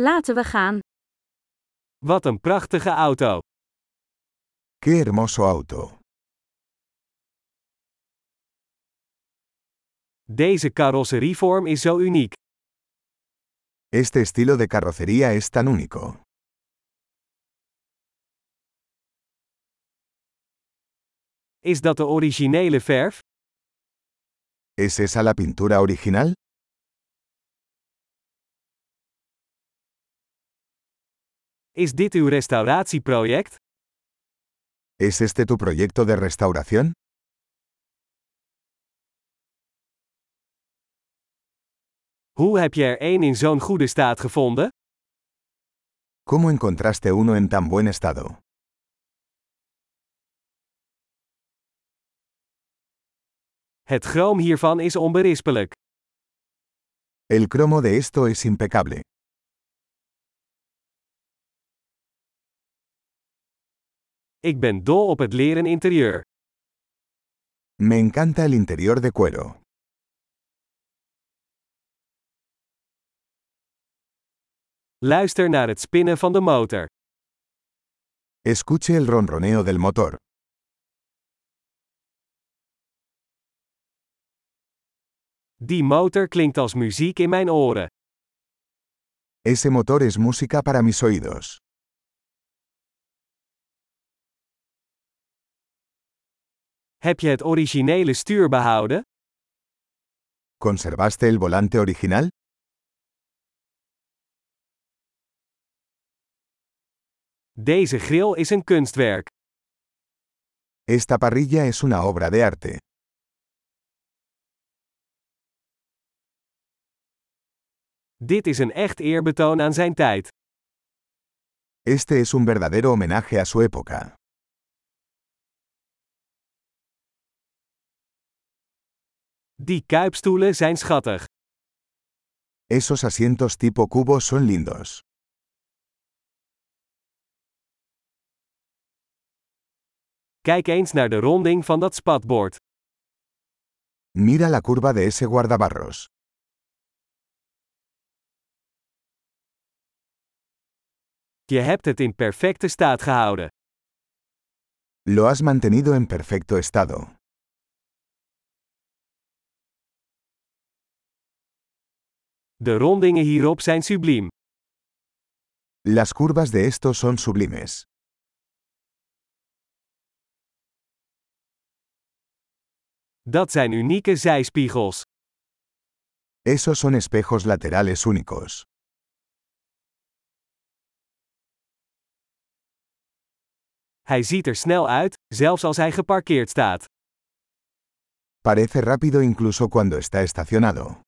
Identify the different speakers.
Speaker 1: Laten we gaan.
Speaker 2: Wat een prachtige auto.
Speaker 3: Qué hermoso auto.
Speaker 2: Deze carrosserievorm is zo uniek.
Speaker 3: Este estilo de carrocería es tan único.
Speaker 2: Is dat de originele verf?
Speaker 3: ¿Es esa la pintura original?
Speaker 2: Is dit uw restauratieproject?
Speaker 3: ¿Es este tu proyecto de restauración?
Speaker 2: Hoe heb je er één in zo'n goede staat gevonden?
Speaker 3: ¿Cómo encontraste uno en tan buen estado?
Speaker 2: Het chroom hiervan is onberispelijk.
Speaker 3: El cromo de esto es impecable.
Speaker 2: Ik ben dol op het leren interieur.
Speaker 3: Me encanta el interior de cuero.
Speaker 2: Luister naar het spinnen van de motor.
Speaker 3: Escuche el ronroneo del motor.
Speaker 2: Die motor klinkt als muziek in mijn oren.
Speaker 3: Ese motor es música para mis oídos.
Speaker 2: Heb je het originele stuur behouden?
Speaker 3: ¿Conservaste el volante original?
Speaker 2: Deze grill is een kunstwerk.
Speaker 3: Esta parrilla es una obra de arte.
Speaker 2: Dit is een echt eerbetoon aan zijn tijd.
Speaker 3: Este es un verdadero homenaje a su época.
Speaker 2: Die kuipstoelen zijn schattig.
Speaker 3: Esos asientos tipo cubo son lindos.
Speaker 2: Kijk eens naar de ronding van dat spatbord.
Speaker 3: Mira la curva de ese guardabarros.
Speaker 2: Je hebt het in perfecte staat gehouden.
Speaker 3: Lo has mantenido en perfecto estado.
Speaker 2: De rondingen hierop zijn subliem.
Speaker 3: Las curvas de estos son sublimes.
Speaker 2: Dat zijn unieke zijspiegels.
Speaker 3: Esos son espejos laterales únicos.
Speaker 2: Hij ziet er snel uit, zelfs als hij geparkeerd staat.
Speaker 3: Parece rápido incluso cuando está estacionado.